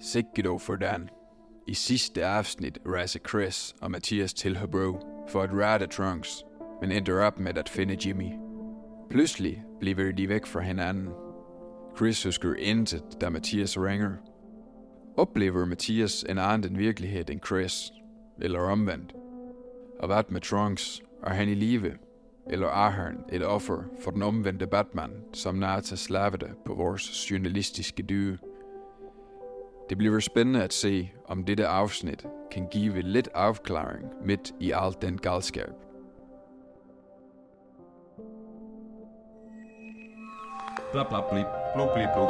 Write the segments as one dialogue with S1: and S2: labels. S1: Sikke dog for Dan. I sidste afsnit raser Chris og Mathias til Hobro for at rette Trunks, men ender op med at finde Jimmy. Pludselig bliver de væk fra hinanden. Chris husker intet, da Mathias ringer. Oplever Mathias en anden virkelighed end Chris, eller omvendt? Og hvad med Trunks? Er han i live? Eller er han et offer for den omvendte Batman, som Nata slavede på vores journalistiske dyre? Det bliver spændende at se, om dette afsnit kan give lidt afklaring midt i al den galskab.
S2: Bla bla blip, blu bli blu.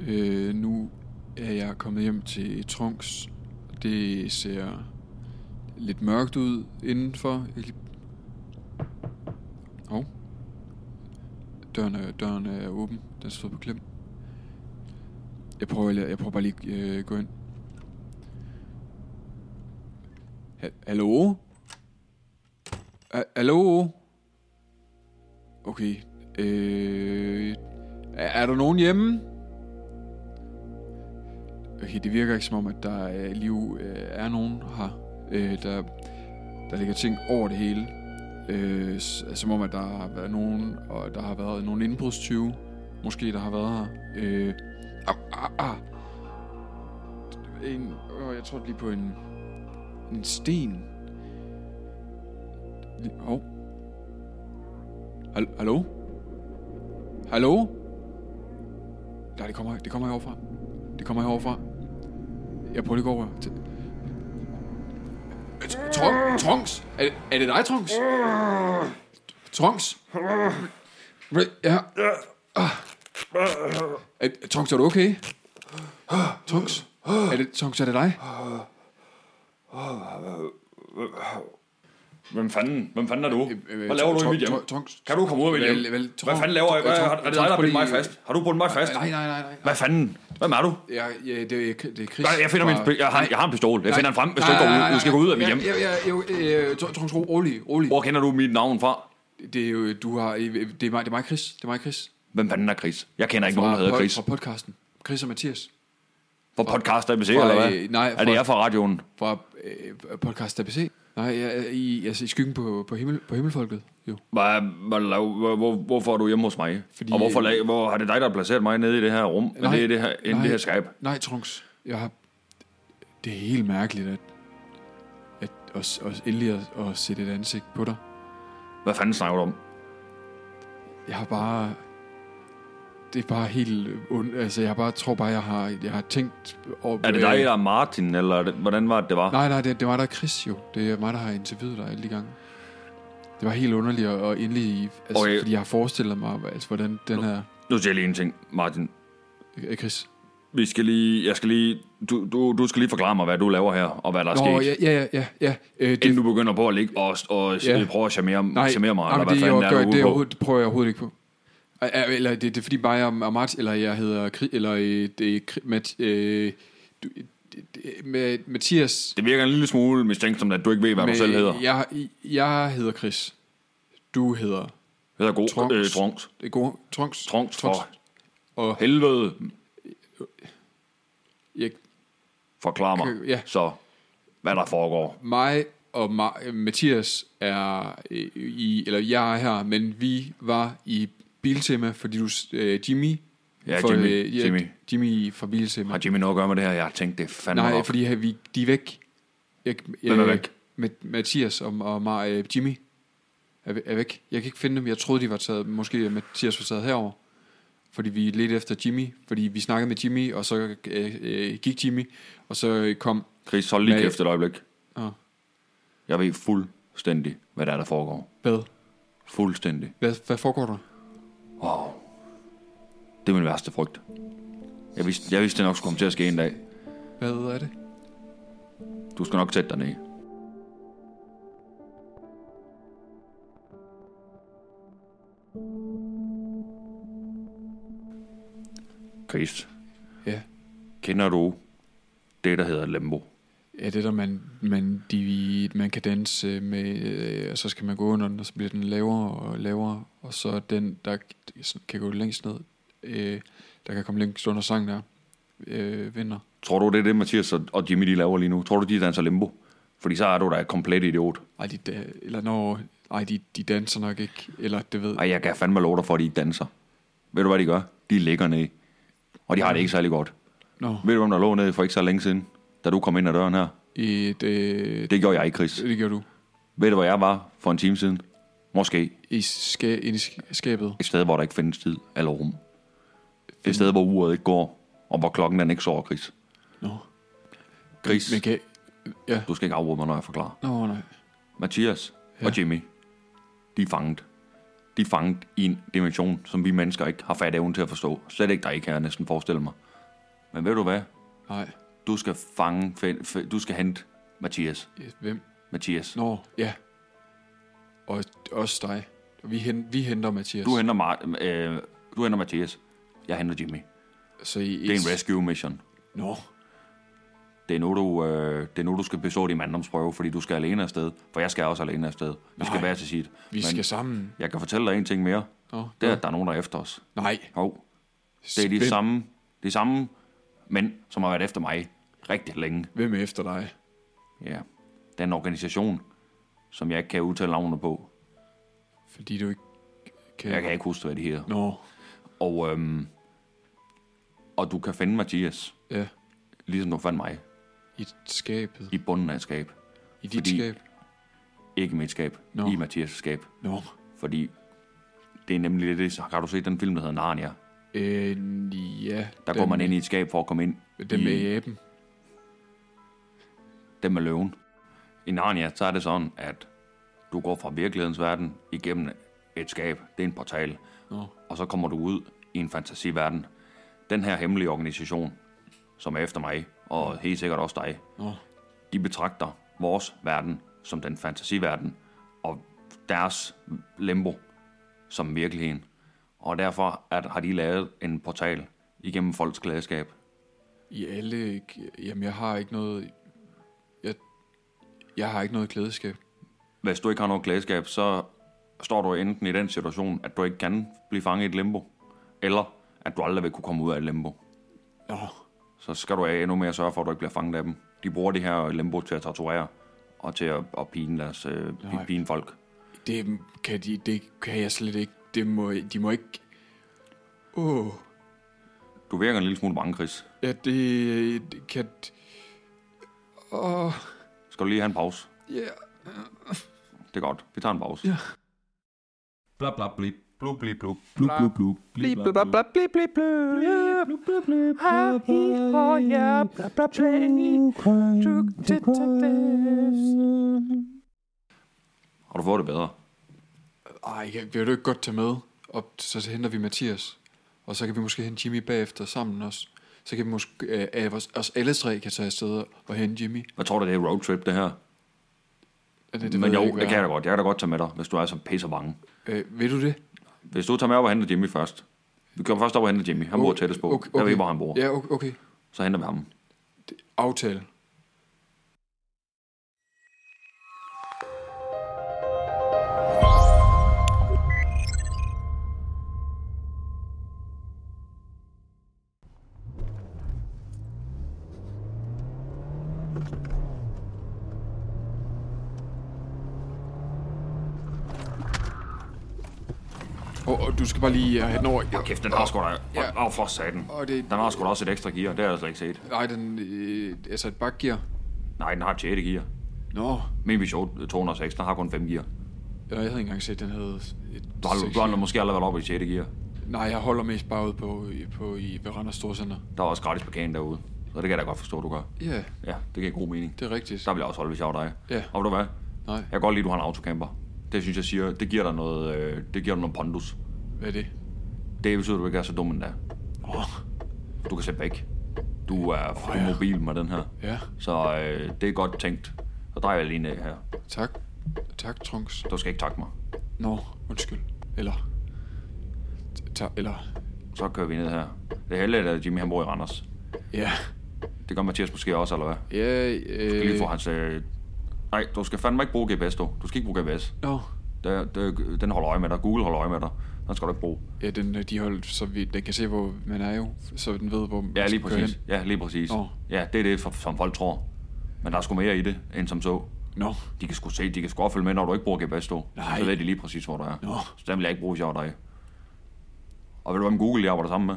S1: Øh, nu er jeg kommet hjem til Trunks. Det ser lidt mørkt ud indenfor. Jeg kan lige- Hov. Døren er, døren er åben. Den står på klem. Jeg prøver, lige- jeg prøver bare lige at øh, gå ind. Ha- Hallo? Ha- Hallo? Okay. Øh, er, er der nogen hjemme? Okay, Øh, det virker ikke som om, at der øh, liv øh, er nogen her. Øh, der, der ligger ting over det hele. Øh, s- som om, at der har været nogen, og der har været nogle indbrudstyve. Måske der har været her. Øh, au, au, au. En, øh, jeg tror lige på en, en sten. Hov. Hal- Hallo? Hallo? Nej, det kommer, det kommer herovre det kommer heroverfra. Jeg prøver lige at gå over til... Øh, Tr- Tr- Trunks? Er, det- er det dig, Trunks? Trunks? Hvad- Ja. Ah. Er, Trunks, er du okay? Trunks? Er det, Trunks, er det dig?
S2: Hvem fanden? Hvem fanden er du?
S1: øh,
S2: Hvad laver du i
S1: Trunk-
S2: mit hjem?
S1: Trunk- Trunks.
S2: Kan du komme ud af mit
S1: Vel-
S2: hjem?
S1: vel,
S2: Hvad
S1: Trunk-
S2: fanden laver jeg? Hvad,
S1: Trunk-
S2: har, er det dig,
S1: Trunk-
S2: der har
S1: Trunk-
S2: bundet mig
S1: lige-
S2: fast? Har du bundet mig fast?
S1: Nej, nej, nej, nej. nej.
S2: Hvad fanden? Hvem er du?
S1: Ja, ja, det er, det er Chris.
S2: Jeg, jeg finder min
S1: fra-
S2: pistol. Jeg har, jeg har en pistol. Jeg finder den frem, hvis du ikke går ud. Du skal gå ud af mit hjem.
S1: Ja, ja, ja, jo, øh, Tr- Trunks, ro- rolig, rolig.
S2: Hvor kender du mit navn fra?
S1: Det er jo, du har, øh, det er mig, det er mig, Chris. Det er mig, Chris.
S2: Hvem fanden er Chris? Jeg kender ikke nogen, der
S1: Fra
S2: hedder
S1: pod-
S2: Chris.
S1: Fra podcasten. Chris og Mathias.
S2: For podcast ABC,
S1: fra-
S2: eller hvad?
S1: øh, nej,
S2: Er det
S1: fra-
S2: jeg fra radioen?
S1: Fra øh, podcast ABC. Nej, jeg, er i, altså i skyggen på, på, himmel, på himmelfolket, jo.
S2: Hvad, hvad, lav- hvor- hvor, hvorfor er du hjemme hos mig?
S1: Fordi-
S2: og hvorfor, lag- hvor har det dig, der har placeret mig nede i det her rum? Nej,
S1: Nej,
S2: nede i det her, inde i det her skab?
S1: Nej, Trunks. Jeg har... Det er helt mærkeligt, at... at os, os endelig at, at sætte et ansigt på dig.
S2: Hvad fanden snakker du om?
S1: Jeg har bare... Det er bare helt øh, ondt. Altså, jeg bare tror bare, jeg har, jeg har tænkt... Over, øh,
S2: Er det dig, der er Martin, eller er det, hvordan var det, det var?
S1: Nej, nej, det, det var der Chris jo. Det er mig, der har interviewet dig alle de gange. Det var helt underligt og, og endelig, altså,
S2: Okay.
S1: okay. fordi jeg har forestillet mig, altså, hvordan den her...
S2: Nu siger jeg lige en ting, Martin.
S1: Øh, Chris.
S2: Vi skal lige, jeg skal lige, du, du, du skal lige forklare mig, hvad du laver her, og hvad der er sket.
S1: Nå, ja, ja, ja, ja. ja. Øh, det,
S2: Inden du begynder på at ligge og, og
S1: Ja.
S2: ja. prøve at charmere, charmere mig,
S1: nej,
S2: eller hvad
S1: det, er
S2: fanden
S1: jo-
S2: er,
S1: gør, det, er
S2: du ude på?
S1: overhovedet- det prøver jeg overhovedet ikke på. Ej, ej, Eller det, det er fordi bare jeg er Martin, eller jeg hedder, Kri- eller øh, det er Kri- Mat, øh, du- det- det- Ma- Mathias.
S2: Det virker en lille smule mistænksomt, at du ikke ved, hvad du selv hedder. Jeg
S1: Jeg, jeg hedder Chris. Du hedder
S2: hedder god,
S1: Trunks.
S2: Trunks. Øh, Trunks.
S1: det er gode, Trunks.
S2: Trunks,
S1: Trunks.
S2: for
S1: Og
S2: helvede,
S1: jeg,
S2: forklar mig.
S1: Okay, ja.
S2: Så, hvad der foregår.
S1: mig og Ma- Mathias er øh, i, eller jeg er her, men vi var i Biltema, fordi du, s- øh, Jimmy,
S2: Ja,
S1: for,
S2: Jimmy,
S1: øh, ja,
S2: Jimmy.
S1: Jimmy fra Biltema.
S2: Har Jimmy noget at gøre med det her? Jeg har tænkt, det er fandme
S1: Nej,
S2: nok.
S1: fordi øh, her, vi, de er væk. Jeg, jeg,
S2: Hvem er væk?
S1: Med, Mathias og, og Mar, øh, Jimmy er, væ- er væk. Jeg kan ikke finde dem. Jeg troede, de var taget. Måske Mathias var taget herover. Fordi vi ledte efter Jimmy. Fordi vi snakkede med Jimmy, og så øh, øh, gik Jimmy. Og så øh, kom...
S2: Chris, hold lige
S1: Hvad-
S2: kæft et øjeblik.
S1: Åh,
S2: Jeg ved fuldstændig, hvad der er, der foregår.
S1: hvad?
S2: Fuldstændig.
S1: hvad? Hvad foregår der?
S2: Wow. Det er min værste frygt. Jeg vidste, jeg vidste det nok skulle komme til at ske en dag.
S1: Hvad er det?
S2: Du skal nok sætte dig ned. Chris,
S1: Ja.
S2: kender du det, der hedder Lembo?
S1: Ja, det der, man, man, de, man kan danse med, øh, og så skal man gå under den, og så bliver den lavere og lavere, og så den, der kan gå længst ned, øh, der kan komme længst under sang der, øh, vinder.
S2: Tror du, det er det, Mathias og- og Jimmy de laver lige nu? Tror du, de danser limbo? Fordi så er du da et komplet idiot.
S1: Ej, de, da- eller når, ej, de, de danser nok ikke, eller det ved.
S2: Ej, jeg kan fandme love dig for, at de ikke danser. Ved du, hvad de gør? De ligger ned. Og de har det ikke særlig godt.
S1: Nå,
S2: Ved du, hvem der lå nede for ikke så længe siden, da du kom ind ad døren her?
S1: et, øh, det,
S2: Det gjorde jeg ikke, Chris.
S1: det gjorde du.
S2: Ved du, hvor jeg var for en time siden? Måske
S1: I, ska, ind i sk- skabet.
S2: et sted, hvor der ikke findes tid eller rum. Et sted, hvor uret ikke går, og hvor klokken den ikke sover, Chris.
S1: Nå,
S2: Chris,
S1: men kan, ja,
S2: du skal ikke afbryde mig, når jeg forklarer.
S1: nå nej.
S2: Mathias ja.
S1: Ja.
S2: og Jimmy, de er fanget. De er fanget i en dimension, som vi mennesker ikke har fat evnen til at forstå. Slet ikke dig, kan jeg næsten forestille mig. Men ved du hvad?
S1: Nej,
S2: Du skal fange, fe- fe- du skal hente Mathias.
S1: ja, hvem?
S2: Mathias.
S1: Nå, ja. Og også dig. Vi, hen, vi henter Mathias.
S2: Du henter, Mar- øh, du henter Mathias. Jeg henter Jimmy.
S1: så I
S2: Det er en rescue mission.
S1: Nå,
S2: Det er, nu, du, øh, det er nu, du skal bestå din manddomsprøve, fordi du skal alene afsted. For jeg skal også alene afsted. Vi Nej. skal
S1: Nej.
S2: være til sit.
S1: vi Men... skal sammen.
S2: Jeg kan fortælle dig en ting mere.
S1: Nå,
S2: Det er, at der er nogen, der er efter os.
S1: Nej.
S2: Hov, Det er de
S1: hvem,
S2: samme, de samme mænd, som har været efter mig rigtig længe.
S1: Hvem er efter dig?
S2: Ja. Det er en organisation, som jeg ikke kan udtale navnet på.
S1: Fordi du ikke kan...
S2: Jeg kan ikke huske, hvad de hedder.
S1: Nå,
S2: Og, øhm, og du kan finde Mathias,
S1: ja.
S2: ligesom du fandt mig,
S1: I skabet.
S2: i bunden af et skab.
S1: I dit
S2: fordi-
S1: skab.
S2: Ikke i mit skab,
S1: Nå.
S2: i Mathias' skab.
S1: Nå.
S2: Fordi det er nemlig lidt det, så har du set den film, der hedder Narnia?
S1: Øh, ja.
S2: Der går man ind i et skab for at komme ind
S1: Den
S2: i
S1: med aben.
S2: den med løven. I Narnia, så er det sådan, at du går fra virkelighedens verden igennem et skab. Det er en portal.
S1: Nå.
S2: og så kommer du ud i en fantasiverden. Den her hemmelige organisation, som er efter mig, og helt sikkert også dig,
S1: Nå.
S2: de betragter vores verden som den fantasiverden, og deres limbo som virkeligheden. Og derfor at, har de lavet en portal igennem folks klædeskab.
S1: I alle... Jamen, jeg har ikke noget... Jeg, jeg har ikke noget klædeskab.
S2: Hvis du ikke har noget klædeskab, så står du enten i den situation, at du ikke kan blive fanget i et limbo, eller at du aldrig vil kunne komme ud af et limbo.
S1: Nå.
S2: så skal du endnu mere sørge for, at du ikke bliver fanget af dem. De bruger det her limbo til at torturere og til at, at pine, deres, øh, pi-
S1: Nej.
S2: pine folk.
S1: Det kan, de, det kan jeg slet ikke. Det må, de må ikke... Åh. Oh.
S2: Du virker en lille smule bange, Chris.
S1: Ja, det, det kan... Åh. Oh.
S2: Skal du lige have en pause?
S1: Ja.
S2: Det er godt. Vi tager en pause.
S1: Ja.
S2: Bla bla blip. Blub blip blub.
S3: Blub, blub, blub. Blip, blub, blub, blub, blip, blip, blub. Hej, hej, ja, blub, blub, blub. True detectives.
S2: Har du fået det bedre?
S1: Ej, jeg- vil du ikke godt tage med? Og så henter vi Mathias. Og så kan vi måske hente Jimmy bagefter sammen også. Så kan vi måske... Øh, øh, os, os alle tre kan tage afsted og hente Jimmy.
S2: Jeg tror, det er roadtrip, det her.
S1: Ja, Det,
S2: Men
S1: ved
S2: jo,
S1: jeg ikke,
S2: det
S1: hvad
S2: kan jeg
S1: er.
S2: da godt. Jeg kan da godt tage med dig, hvis du er så pisse bange.
S1: Øh, vil du det?
S2: Hvis du tager med op og henter Jimmy først. Vi kommer først op og henter Jimmy. Han bor tættest på.
S1: Okay, okay.
S2: Jeg ved, hvor han bor.
S1: Ja, okay. okay.
S2: Så henter vi ham.
S1: Aftale. Og, og du skal bare lige øh, have den over.
S2: Hold kæft, den har sgu da...
S1: Ja.
S2: Åh, for satan.
S1: Og det-
S2: Den har sgu da også et ekstra gear. Det har jeg slet ikke set.
S1: Nej, den, øh, altså et bakgear.
S2: Nej, den har et 6. gear.
S1: Nå,
S2: Min Peugeot 206, den har kun 5 gear.
S1: Eller jeg havde ikke engang set, den havde... Et
S2: Du har, du har måske aldrig været oppe i 6. gear.
S1: Nej, jeg holder mest bare ude på, på i ved Randers Storcenter.
S2: Der er også gratis parkering derude. Så det kan jeg da godt forstå, du gør.
S1: Ja,
S2: Ja, det giver god mening.
S1: det er rigtigt.
S2: Der vil jeg også holde, hvis jeg var dig.
S1: Ja.
S2: Og ved du hvad?
S1: Nej,
S2: Jeg kan godt lide, at du har en autocamper. Det synes jeg siger, det giver dig noget, øh, det giver dig noget pondus.
S1: hvad er det?
S2: Det betyder, at du ikke er så dum endda.
S1: Åh,
S2: Du kan sætte væk. Du er for mobil med den her.
S1: ja,
S2: Så øh, det er godt tænkt. Så drejer jeg lige ned her.
S1: tak. Tak, Trunks.
S2: Du skal ikke takke mig.
S1: Nå, undskyld. Eller... Ta eller...
S2: Så kører vi ned her. Det er heldigt, at Jimmy han bor i Randers.
S1: Ja,
S2: Det gør Mathias måske også, eller hvad? Jeg
S1: Ja,
S2: skal lige
S1: øh...
S2: få hans... Øh... Nej, du skal fandme ikke bruge GPS, du. Du skal ikke bruge GPS.
S1: Nå,
S2: Der, der, den holder øje med dig. Google holder øje med dig. Den skal du ikke bruge.
S1: ja, den, øh, de holdt, så vi, den kan se, hvor man er jo, så den ved, hvor man
S2: Ja,
S1: skal
S2: lige
S1: køre
S2: præcis.
S1: hen.
S2: Ja, lige præcis.
S1: Nå.
S2: Ja, det er det, for, som folk tror. Men der er sgu mere i det, end som så.
S1: Nå,
S2: De kan sgu se, de kan sgu også følge med, når du ikke bruger GPS, du.
S1: Nej.
S2: Så ved de lige præcis, hvor du er.
S1: Nå.
S2: Så den vil jeg ikke bruge, hvis jeg var dig. Og ved du, hvem Google jeg arbejder sammen med?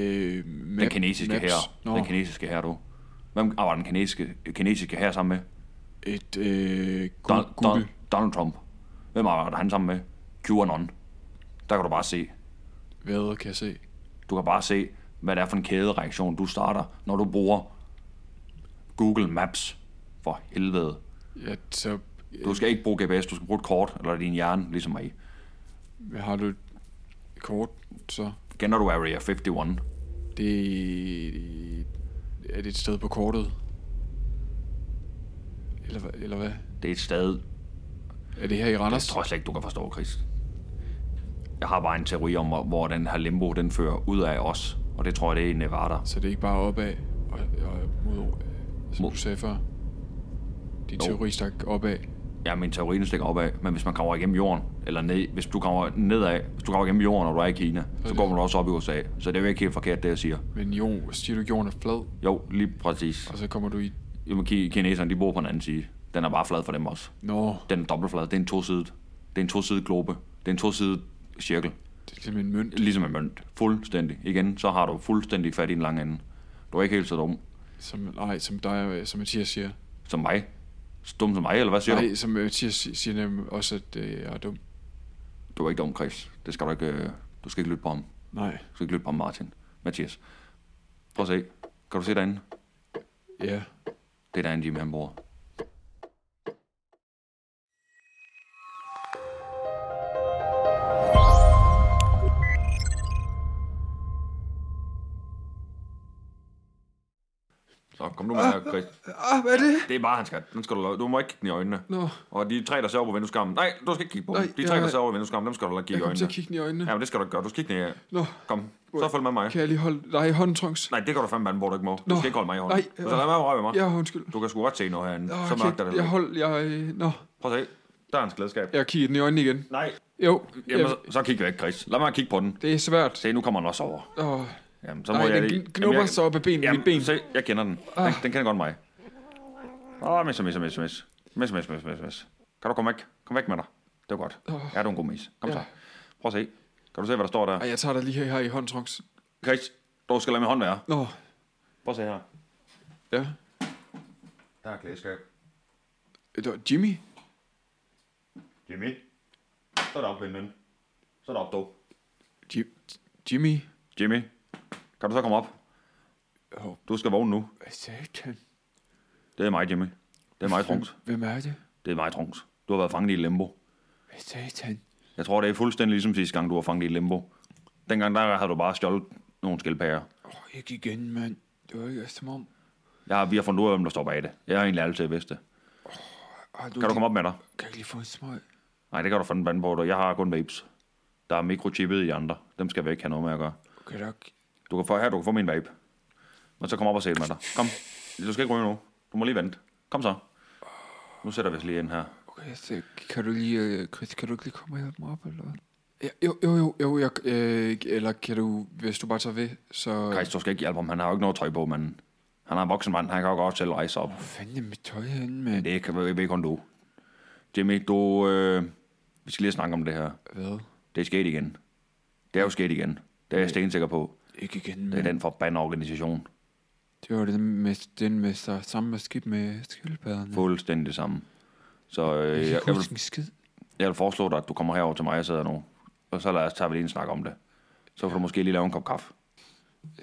S1: øh... Map,
S2: Den kinesiske her.
S1: Nå,
S2: Den kinesiske her, du. Hvem arbejder den kinesiske, kinesiske her sammen med?
S1: et, øh... Gu-
S2: Don,
S1: Google.
S2: Don, Donald Trump. Hvem arbejder han sammen med? QAnon. Der kan du bare se.
S1: Hvad kan jeg se?
S2: Du kan bare se, hvad det er for en kædereaktion, du starter, når du bruger Google Maps. For helvede.
S1: Ja, så...
S2: Du skal ikke bruge GPS, du skal bruge et kort, eller din hjerne, ligesom mig.
S1: Øh, har du et kort, så...
S2: Kender du Area 51?
S1: Det... Er det et sted på kortet? Eller, hva- eller hvad?
S2: Det er et sted,
S1: Er det her i Randers?
S2: Jeg tror slet ikke, du kan forstå, Chris. Jeg har bare en teori om, hvor- hvor den her limbo, den fører ud af os. Og det tror jeg, det er i Nevada.
S1: Så det er ikke bare opad og, og mod, øh, som
S2: Mod-
S1: du sagde før. Din
S2: Jo.
S1: teori stak opad.
S2: Ja, min teori den stikker opad, men hvis man kommer igennem jorden, eller ned, hvis du kommer nedad, hvis du kommer igennem jorden, og du er i Kina, så går man også op i USA. Så det er jo ikke helt forkert, det jeg siger.
S1: Men jo, siger du, jorden er flad,
S2: Jo, lige præcis.
S1: og så kommer du i...
S2: Jamen, ki- kineserne, de bor på den anden side. Den er bare flad for dem også.
S1: Nå,
S2: Den er dobbeltflad, det er en tosidet. Det er en tosidet globe. Det er en tosidet cirkel.
S1: det er simpelthen en mønt.
S2: Ligesom en mønt. Fuldstændig. Igen, så har du fuldstændig fat i den lange ende. Du er ikke helt så dum.
S1: Som, nej, som dig, øh, som Mathias siger.
S2: Som mig? Dum som mig, eller hvad siger
S1: Nej,
S2: du?
S1: som Mathias si- siger nemlig også, at øh, jeg er dum.
S2: Du er ikke dum, Chris. Det skal du ikke... øh, Du skal ikke lytte på ham.
S1: Nej,
S2: Du skal ikke lytte på ham, Martin. Mathias. Prøv at se. Kan du se derinde?
S1: ja.
S2: Det er derinde, Jimmy, han bor. Så kom nu med her, Chris.
S1: Ah, hvad er det?
S2: Det er bare hans skat. Den skal du, lade- du må ikke kigge den i øjnene.
S1: Nå,
S2: Og de tre, der ser over på vindueskammen. Nej, du skal ikke kigge på
S1: Nej,
S2: dem. De
S1: jeg-
S2: tre, der ser over på vindueskammen, dem skal du lade kigge
S1: jeg
S2: i
S1: kom til at
S2: øjnene.
S1: kigge den i øjnene.
S2: Ja, men det skal du ikke gøre. Du skal ikke ned.
S1: Nå,
S2: Kom, så følg med mig.
S1: kan jeg lige holde dig i hånden, Trunks?
S2: Nej, det kan du fandme anden, hvor du ikke må. Du
S1: Nå,
S2: skal ikke holde mig i hånden.
S1: nej,
S2: Du skal lade mig røre ved mig.
S1: Ja, undskyld.
S2: Du kan sgu godt se noget herinde.
S1: Nå,
S2: så mørkt er det.
S1: jeg, jeg hold, jeg, øh, nå,
S2: Prøv at se. Der er en sklædskab.
S1: jeg kigger den i øjnene igen.
S2: Nej.
S1: Jo,
S2: Jamen,
S1: jeg,
S2: så, så kig væk, Chris. Lad mig kigge på den.
S1: det er svært.
S2: Se, nu kommer den også over.
S1: Åh,
S2: Jamen, så må
S1: nej,
S2: jeg
S1: den
S2: lige-
S1: gn- knupper
S2: Jamen, jeg-
S1: sig op ad benene,
S2: Jamen,
S1: mit ben. Ah.
S2: Se, jeg kender den. Den, den kender godt mig. Åh, oh, mis, mis, mis, mis. Mis, mis, mis, mis, mis. Kan du komme væk? Kom væk med dig. Det var godt. Ja, du er en god mis. Kom så. Prøv at se. Kan du se, hvad der står der?
S1: Ej, jeg tager dig lige her, her i hånden, Trunks.
S2: Chris, du skal lade min hånd være.
S1: Nå,
S2: Prøv at se her.
S1: ja.
S2: Der er klædeskab.
S1: Det var Øh, Jimmy?
S2: Jimmy. Så er der op, vennen. Så er der op, dog.
S1: Jim, Jimmy?
S2: Jimmy, kan du så komme op?
S1: Åh,
S2: Du skal vågne nu.
S1: hvad satan?
S2: Det er mig, Jimmy. Det er mig, Trunks.
S1: Hvem er det?
S2: Det er mig, Trunks. Du har været fanget i et limbo.
S1: Hvad satan?
S2: Jeg tror, det er fuldstændig ligesom sidste gang, du var fanget i et limbo. Dengang der havde du bare stjålet nogle skildpadder.
S1: Åh, oh, ikke igen, mand. Det var ikke som om...
S2: Jeg har, vi har fundet ud af, hvem der står bag det. Jeg har egentlig altid vidst det.
S1: Ej,
S2: Kan du komme op med dig?
S1: Kan jeg ikke lige få en smøg?
S2: Nej, det kan du fandme bande på. du. Jeg har kun vapes. Der er mikrochippet i de andre. Dem skal vi ikke have noget med at gøre.
S1: Kan du ikke...
S2: Du kan få, her, du kan få min vape. Men så kom op og se det med dig. Kom. Du skal ikke ryge nu. Du må lige vente. Kom så. Nu sætter vi os lige ind her.
S1: Okay, så kan du lige... øh, Chris, kan du ikke lige komme og hjælpe mig op, eller hvad? Ja, jo, jo, jo, jo, jeg, øh, eller kan du, hvis du bare tager ved, så...
S2: Christ, du skal ikke hjælpe ham. Han har jo ikke noget tøj på, men han er en voksen mand. Han kan jo godt selv rejse sig op.
S1: Hvor fanden er mit tøj henne, mand?
S2: Det kan vi ikke, om du. Jimmy, du... Øh, vi skal lige snakke om det her.
S1: Hvad?
S2: Det er sket igen. Det er jo sket igen. Det er jeg stensikker på.
S1: Ikke igen,
S2: Det er
S1: mand.
S2: den forbandede organisation.
S1: Det var den med, den med sig, samme med skib med skildpadderne.
S2: Fuldstændig det samme.
S1: Jeg
S2: Så øh,
S1: kan
S2: jeg,
S1: ikke
S2: jeg, vil,
S1: huske en skid.
S2: jeg vil foreslå dig, at du kommer herover til mig, jeg sidder nu. Og så lad os tage lige en snak om det. Så får du måske lige lave en kop kaffe.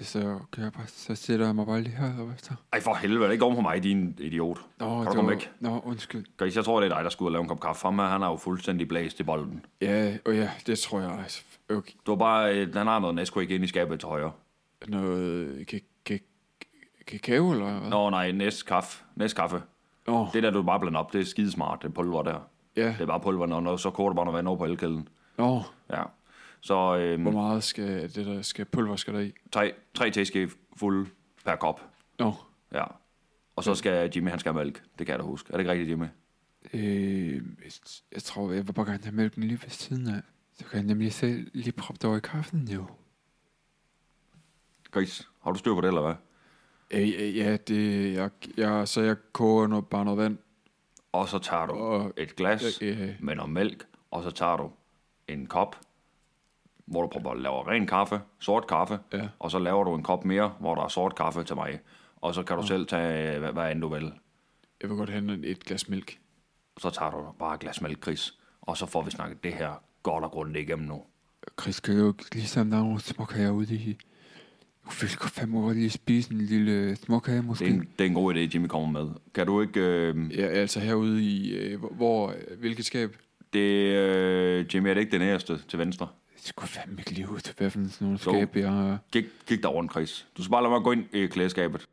S1: Så, kan jeg bare, så sætter jeg mig bare lige her og efter.
S2: Ej, for helvede, ikke over på mig, din idiot.
S1: Nå,
S2: kan du
S1: det
S2: komme
S1: var-
S2: væk?
S1: Nå, undskyld.
S2: Chris, jeg tror, det er dig, der skulle ud og lave en kop kaffe. Ham her, han er jo fuldstændig blæst i bolden.
S1: Ja, og ja, det tror jeg altså. Okay.
S2: Du har bare, øh, han har noget Nesquik ind i skabet til højre.
S1: Noget ka- ka- kakao, eller hvad?
S2: Nå, nej, Neskaffe. Neskaffe.
S1: Nå,
S2: Det der, du bare blander op, det er skidesmart, det pulver der.
S1: ja.
S2: Det er bare pulver, og når- så koger du bare noget vand over på elkæden.
S1: Nå,
S2: Ja. Så
S1: hvor
S2: øhm,
S1: meget skal det der skal pulver skal der i?
S2: tre, tre teske fulde per kop.
S1: Nå,
S2: Ja. Og så skal Jimmy, han skal have mælk. Det kan jeg da huske. Er det ikke rigtigt, Jimmy?
S1: Øh, jeg tror, jeg var bare gerne have mælken lige ved siden af. Så kan jeg nemlig selv lige proppe det over i kaffen, jo.
S2: Gris, har du styr på det, eller hvad?
S1: Øh, øh, ja, det, jeg, jeg, så jeg koger noget, bare noget vand.
S2: Og så tager du
S1: Og,
S2: et glas
S1: øh,
S2: med noget mælk, og så tager du en kop, hvor du prøver at lave ren kaffe, sort kaffe,
S1: Ja.
S2: og så laver du en kop mere, hvor der er sort kaffe til mig. Og så kan du selv tage, hvad, hvad end du vil.
S1: jeg vil godt have en- et glas mælk.
S2: Så tager du bare et glas mælk, Chris, og så får vi snakket det her godt og grundigt igennem nu.
S1: Chris, kan jo ligesom der er nogle småkager ude i... Du vil godt fandme godt lige spise en lille øh, småkage, måske.
S2: Det er, en, det er en god idé, Jimmy kommer med. Kan du ikke... Øh,
S1: Ja, altså herude i... Øh, hvor- hvor... øh, Hvilket skab?
S2: det, øh, Jimmy, er det ikke det næste til venstre?
S1: Jeg skulle fandme ikke lige ud til, hvad for sådan nogle
S2: Jo.
S1: skab, jeg...
S2: Kig, kig dig rundt, Chris. Du skal bare lade mig gå ind i klædeskabet.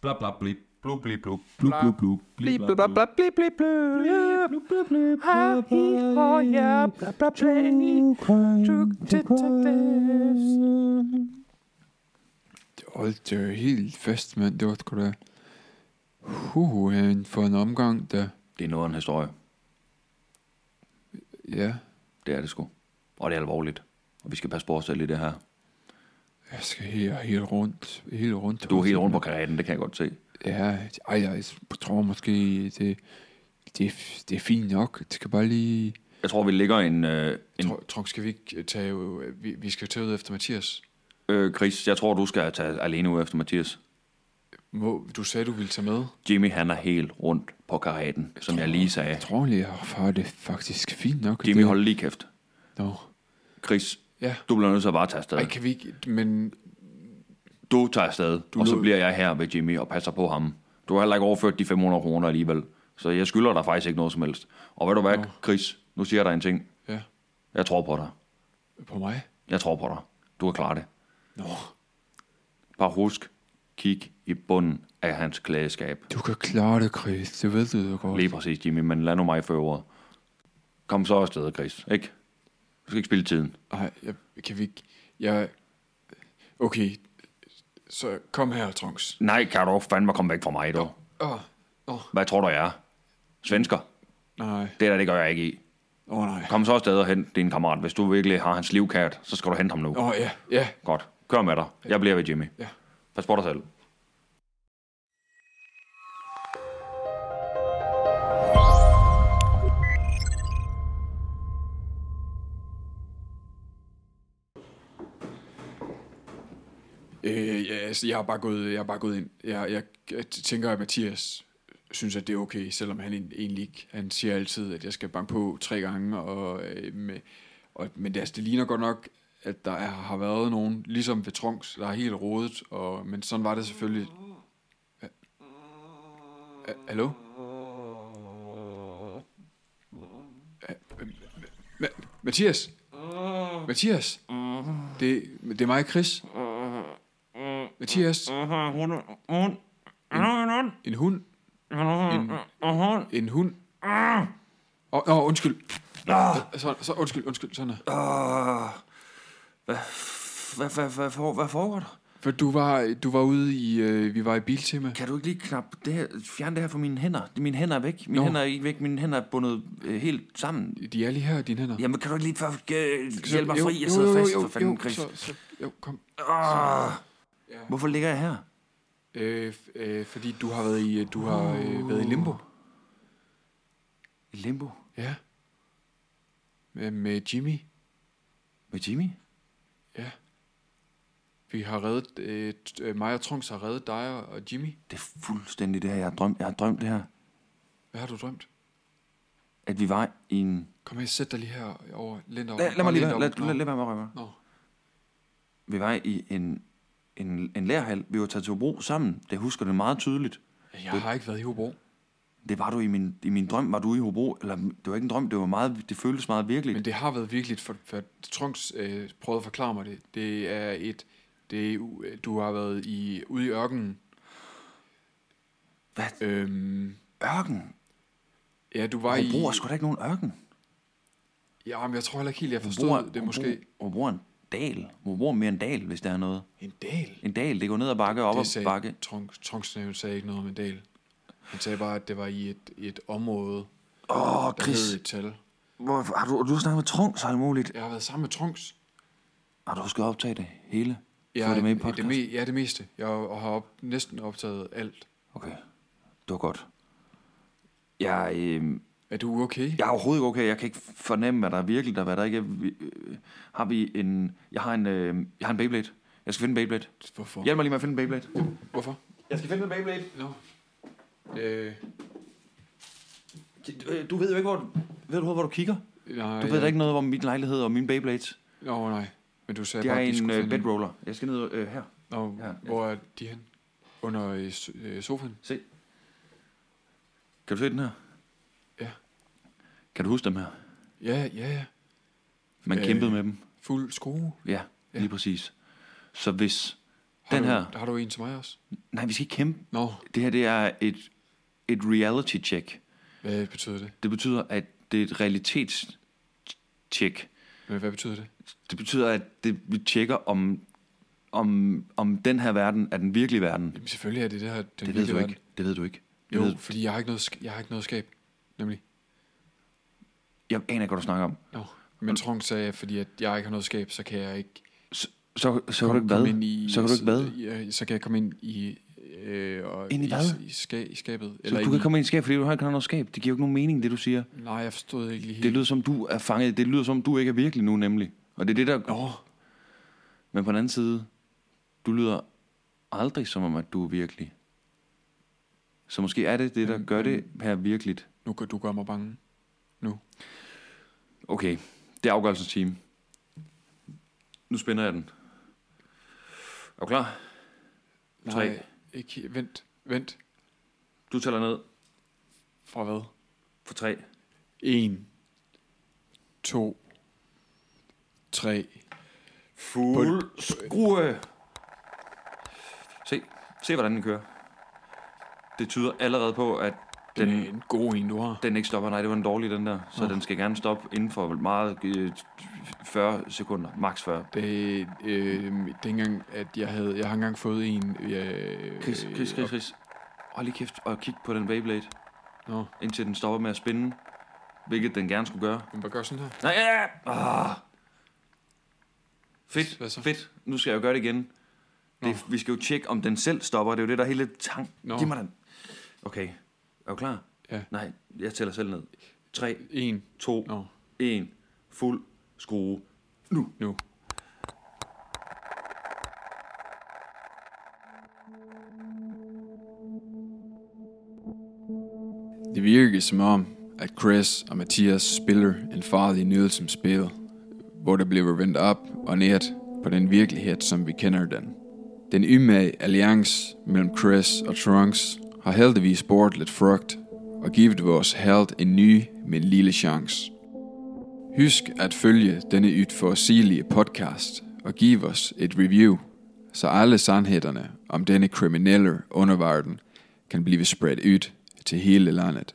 S3: Bla bla blip. Blub blip blub.
S4: Blub, blub, blub.
S3: Blip bla bla bla blip blip blub.
S4: Blub, blub, blub.
S3: Ha hi ho ja. Bla bla play. True detectives.
S1: Det holdt øh, helt fast, mand. Det var sgu da... Huh, en- for en omgang, der...
S2: Det er noget af en historie.
S1: Ja,
S2: Det er det sgu. Og det er alvorligt. Og vi skal passe på os selv i det her.
S1: jeg skal helt, helt rundt. Helt rundt.
S2: Du er helt rundt på karetten, det kan jeg godt se.
S1: Ja, ej, jeg tror måske, det, det, det er fint nok. Det skal bare lige...
S2: Jeg tror, vi ligger en... Øh, en
S1: Tror, tror, skal vi ikke tage... øh, Vi, vi skal jo tage ud efter Mathias.
S2: øh, Chris, jeg tror, du skal tage alene ud efter Mathias.
S1: Må, du sagde, du ville tage med.
S2: Jimmy, han er helt rundt på karetten, som jeg lige sagde.
S1: Jeg tror lige, jeg har det faktisk fint nok.
S2: Jimmy,
S1: det,
S2: hold lige kæft.
S1: Nå.
S2: Chris,
S1: Ja.
S2: du bliver nødt til at bare tage afsted.
S1: Ej, kan vi ikke... Men
S2: Du tager afsted, du og så
S1: lå-
S2: bliver jeg her ved Jimmy og passer på ham. Du har heller ikke overført de 500 kroner alligevel. Så jeg skylder dig faktisk ikke noget som helst. Og ved du hvad, Chris, nu siger jeg dig en ting.
S1: Ja.
S2: Jeg tror på dig.
S1: på mig?
S2: Jeg tror på dig. Du kan klare det.
S1: Nå,
S2: Bare husk, kig i bunden af hans klædeskab.
S1: du kan klare det, Chris. Det ved du jo godt.
S2: Lige præcis, Jimmy, men lad nu mig føre ordet. Kom så afsted, Chris, ikke? Du skal ikke spille tiden.
S1: Ej, jeg, kan vi ikke... Jeg... Okay, så kom her, Trunks.
S2: Nej, kan du fandme komme væk fra mig, du.
S1: Åh, oh,
S2: Hvad tror du, jeg er? Svensker?
S1: nej.
S2: Det der, det gør jeg ikke i.
S1: Åh, oh, nej.
S2: Kom så afsted og hent din kammerat. Hvis du virkelig har hans liv kært, så skal du hente ham nu.
S1: Åh, oh, ja, ja.
S2: Godt. Kør med dig. Jeg bliver ved Jimmy.
S1: Ja.
S2: Pas på dig selv.
S1: Øh, ja, altså, jeg har bare gået, jeg har bare gået ind. Jeg, jeg, jeg tænker, at Mathias synes, at det er okay, selvom han en- egentlig ikke... Han siger altid, at jeg skal banke på tre gange, og, øh, med, og, men det, altså, det ligner godt nok, at der er, har været nogen, ligesom ved Trunks, der er helt rodet, og, men sådan var det selvfølgelig... Ha- ha- Hallo? Ha- Ma- Ma- Mathias? Mathias? Det, det er mig, Chris. Mathias, en hund. En, en hund.
S2: Ah!
S1: Åh, oh, oh, undskyld. Så, så, undskyld, undskyld, sådan her.
S2: Hvad, hvad, hvad, for, hvad foregår der?
S1: For du var, du var ude i, øh, vi var i biltema.
S2: Kan du ikke lige knap det her, fjerne det her fra mine hænder? Mine hænder er væk. Mine
S1: Nå.
S2: hænder er ikke væk. Mine hænder er bundet øh, helt sammen.
S1: De er lige her, dine hænder.
S2: Jamen, kan du ikke lige først øh,
S1: Så-
S2: hjælpe mig
S1: jo,
S2: fri?
S1: jo,
S2: Jeg sidder
S1: jo,
S2: fast
S1: jo,
S2: for fanden,
S1: jo,
S2: Chris.
S1: så- så- Jo, kom.
S2: Ah. Hvorfor ligger jeg her?
S1: Øh, f- øh, fordi du har været i, øh, du har øh, været i limbo.
S2: I limbo.
S1: Ja. Med, med Jimmy.
S2: Med Jimmy?
S1: Ja. Vi har reddet, øh, t- øh, mig og Trunks har reddet dig og- og Jimmy.
S2: Det er fuldstændig det her, jeg har drømt. Jeg har drømt det her.
S1: Hvad har du drømt?
S2: At vi var i en...
S1: Kom her, sæt dig lige her over. Læn dig over.
S2: Lad, lad
S1: Bare
S2: mig lige
S1: læn
S2: være.
S1: dig
S2: Lad,
S1: over.
S2: lad, lad være med at røre mig.
S1: Nå.
S2: Vi var i en, en, en lærhal. Vi var taget til Hobro sammen. Det husker det meget tydeligt.
S1: Jeg har ikke været i Hobro.
S2: Det var du i min, i min drøm. Var du i Hobro? Eller, det var ikke en drøm. Det, var meget, det føltes meget virkeligt.
S1: Men det har været virkelig, for, for Trunks øh, prøvede at forklare mig det. Det er et, det er, u- du har været i, ude i ørkenen.
S2: Hvad?
S1: Øhm,
S2: Ørken?
S1: ja, du var
S2: Hobro er
S1: i...
S2: sgu da ikke nogen ørken.
S1: Ja, men jeg tror heller ikke helt, jeg
S2: Hobro
S1: forstod
S2: er,
S1: det måske.
S2: Hobro, Hobro er en dal. Hvor bor mere en dal, hvis der er noget?
S1: En dal?
S2: En dal, det går ned ad bakke og op ad
S1: det sagde,
S2: bakke.
S1: Trunk, Trunksnæven sagde ikke noget om en dal. Han sagde bare, at det var i et, et område,
S2: Åh, oh,
S1: der
S2: Chris,
S1: hed et tal.
S2: hvor, har du, du har snakket med Trunks og alt muligt.
S1: Jeg har været sammen med Trunks.
S2: Har du skal optage det hele?
S1: Jeg,
S2: Få det med i podcast?
S1: Det me, ja, det meste. Jeg har op, næsten optaget alt.
S2: Okay, det var godt. Jeg, øh,
S1: Er du okay?
S2: jeg er overhovedet ikke okay. Jeg kan ikke fornemme, hvad der er virkeligt, og hvad der ikke er. Vi- øh, Har vi en... Jeg har en, øh, jeg har en Beyblade. Jeg skal finde en Beyblade.
S1: Hvorfor?
S2: Hjælp mig lige med at finde en Beyblade.
S1: Hvorfor?
S2: Jeg skal finde en Beyblade.
S1: Nå. Øh,
S2: Øh, Du ved jo ikke, hvor, ved du, hvor du kigger.
S1: nej,
S2: Du ved
S1: jeg-
S2: da ikke noget om min lejlighed og mine Beyblades.
S1: Nå, nej. Men du sagde
S2: Det er
S1: bare, at de
S2: en
S1: skulle
S2: øh,
S1: finde...
S2: bedroller. Jeg skal ned øh, her.
S1: Nå,
S2: Ja.
S1: hvor er de hen? Under øh, so- øh, sofaen?
S2: Se. Kan du se den her?
S1: Ja.
S2: Kan du huske dem her?
S1: Ja, ja, ja.
S2: Man
S1: Øh.
S2: kæmpede med dem.
S1: Fuld skrue.
S2: Ja,
S1: Ja.
S2: lige præcis. Så hvis...
S1: Har
S2: Den
S1: du,
S2: her.
S1: Har du en til mig også?
S2: Nej, vi skal ikke kæmpe.
S1: Nå,
S2: Det her, det er et, et reality check.
S1: hvad betyder det?
S2: Det betyder, at det er et realitets check.
S1: Men hvad betyder det?
S2: Det betyder, at det, vi tjekker, om, om, om den her verden er den virkelige verden.
S1: Jamen selvfølgelig er det det her... Den
S2: Det ved
S1: virkelige
S2: du
S1: verden.
S2: ikke. Det ved du ikke. Det ved,
S1: Jo, fordi jeg har ikke noget, sk- jeg har ikke noget skab, nemlig.
S2: jeg aner ikke, hvad du snakker om.
S1: Nå. Men Trunk sagde, at fordi at jeg ikke har noget skab, så kan jeg ikke
S2: Så, så, så kan du
S1: komme- komme
S2: ikke hvad?
S1: ind i...
S2: Så kan du ikke hvad?
S1: Ja, så kan jeg komme ind i... Øh, og
S2: Ind i hvad?
S1: I, i, ska, i skabet.
S2: Så du
S1: ind
S2: kan
S1: i-
S2: komme ind i skab, fordi du har ikke noget skab. Det giver jo ikke nogen mening, det du siger.
S1: Nej, jeg forstod ikke lige
S2: Det
S1: helt.
S2: lyder som, du er fanget. Det lyder som, du ikke er virkelig nu, nemlig. Og det er det, der...
S1: Nå,
S2: Men på den anden side, du lyder aldrig som om, at du er virkelig. Så måske er det det, der gør det her virkeligt.
S1: nu kan du gøre mig bange.
S2: Okay, det er afgørelsens time. Nu spænder jeg den. Er du klar? Tre.
S1: Nej, ikke helt. Vent, vent.
S2: Du tæller ned
S1: Fra hvad?
S2: for tre.
S1: En, to, tre.
S2: Fuld skrue. Se, se hvordan den kører. Det tyder allerede på, at
S1: Den
S2: den,
S1: er en god en, du har.
S2: den ikke stopper. Nej, det var en dårlig, den der. Så den skal gerne stoppe inden for meget øh, 40 sekunder. Max 40.
S1: Det, øh, det er ikke engang, at jeg havde... Jeg har engang fået en... Øh,
S2: Chris, Chris, Chris, Chris. Hold lige kæft og kig på den Beyblade,
S1: Nå,
S2: indtil den stopper med at spinde. Hvilket den gerne skulle gøre.
S1: men bare gør sådan her.
S2: Nej, ja, ja. Ah. Fedt,
S1: Hvad så?
S2: fedt. Nu skal jeg jo gøre det igen. Det, vi skal jo tjekke, om den selv stopper. Det er jo det, der er hele tang.
S1: Nå.
S2: Giv mig den. Okay, er du klar?
S1: Ja.
S2: Nej, jeg tæller selv ned. 3,
S1: En.
S2: 2,
S1: Nå,
S2: 1. Fuld skrue.
S1: nu. Det virker som om, at Chris og Mathias spiller en farlig nydelsens spil, hvor der bliver vendt op og ned på den virkelighed, som vi kender den. Den ymage alliance mellem Chris og Trunks har heldigvis båret lidt frugt og givet vores held en ny, men lille chance. Husk at følge denne yt forudsigelige podcast og give os et review, så alle sandhederne om denne kriminelle underverden kan blive spredt ud til hele landet.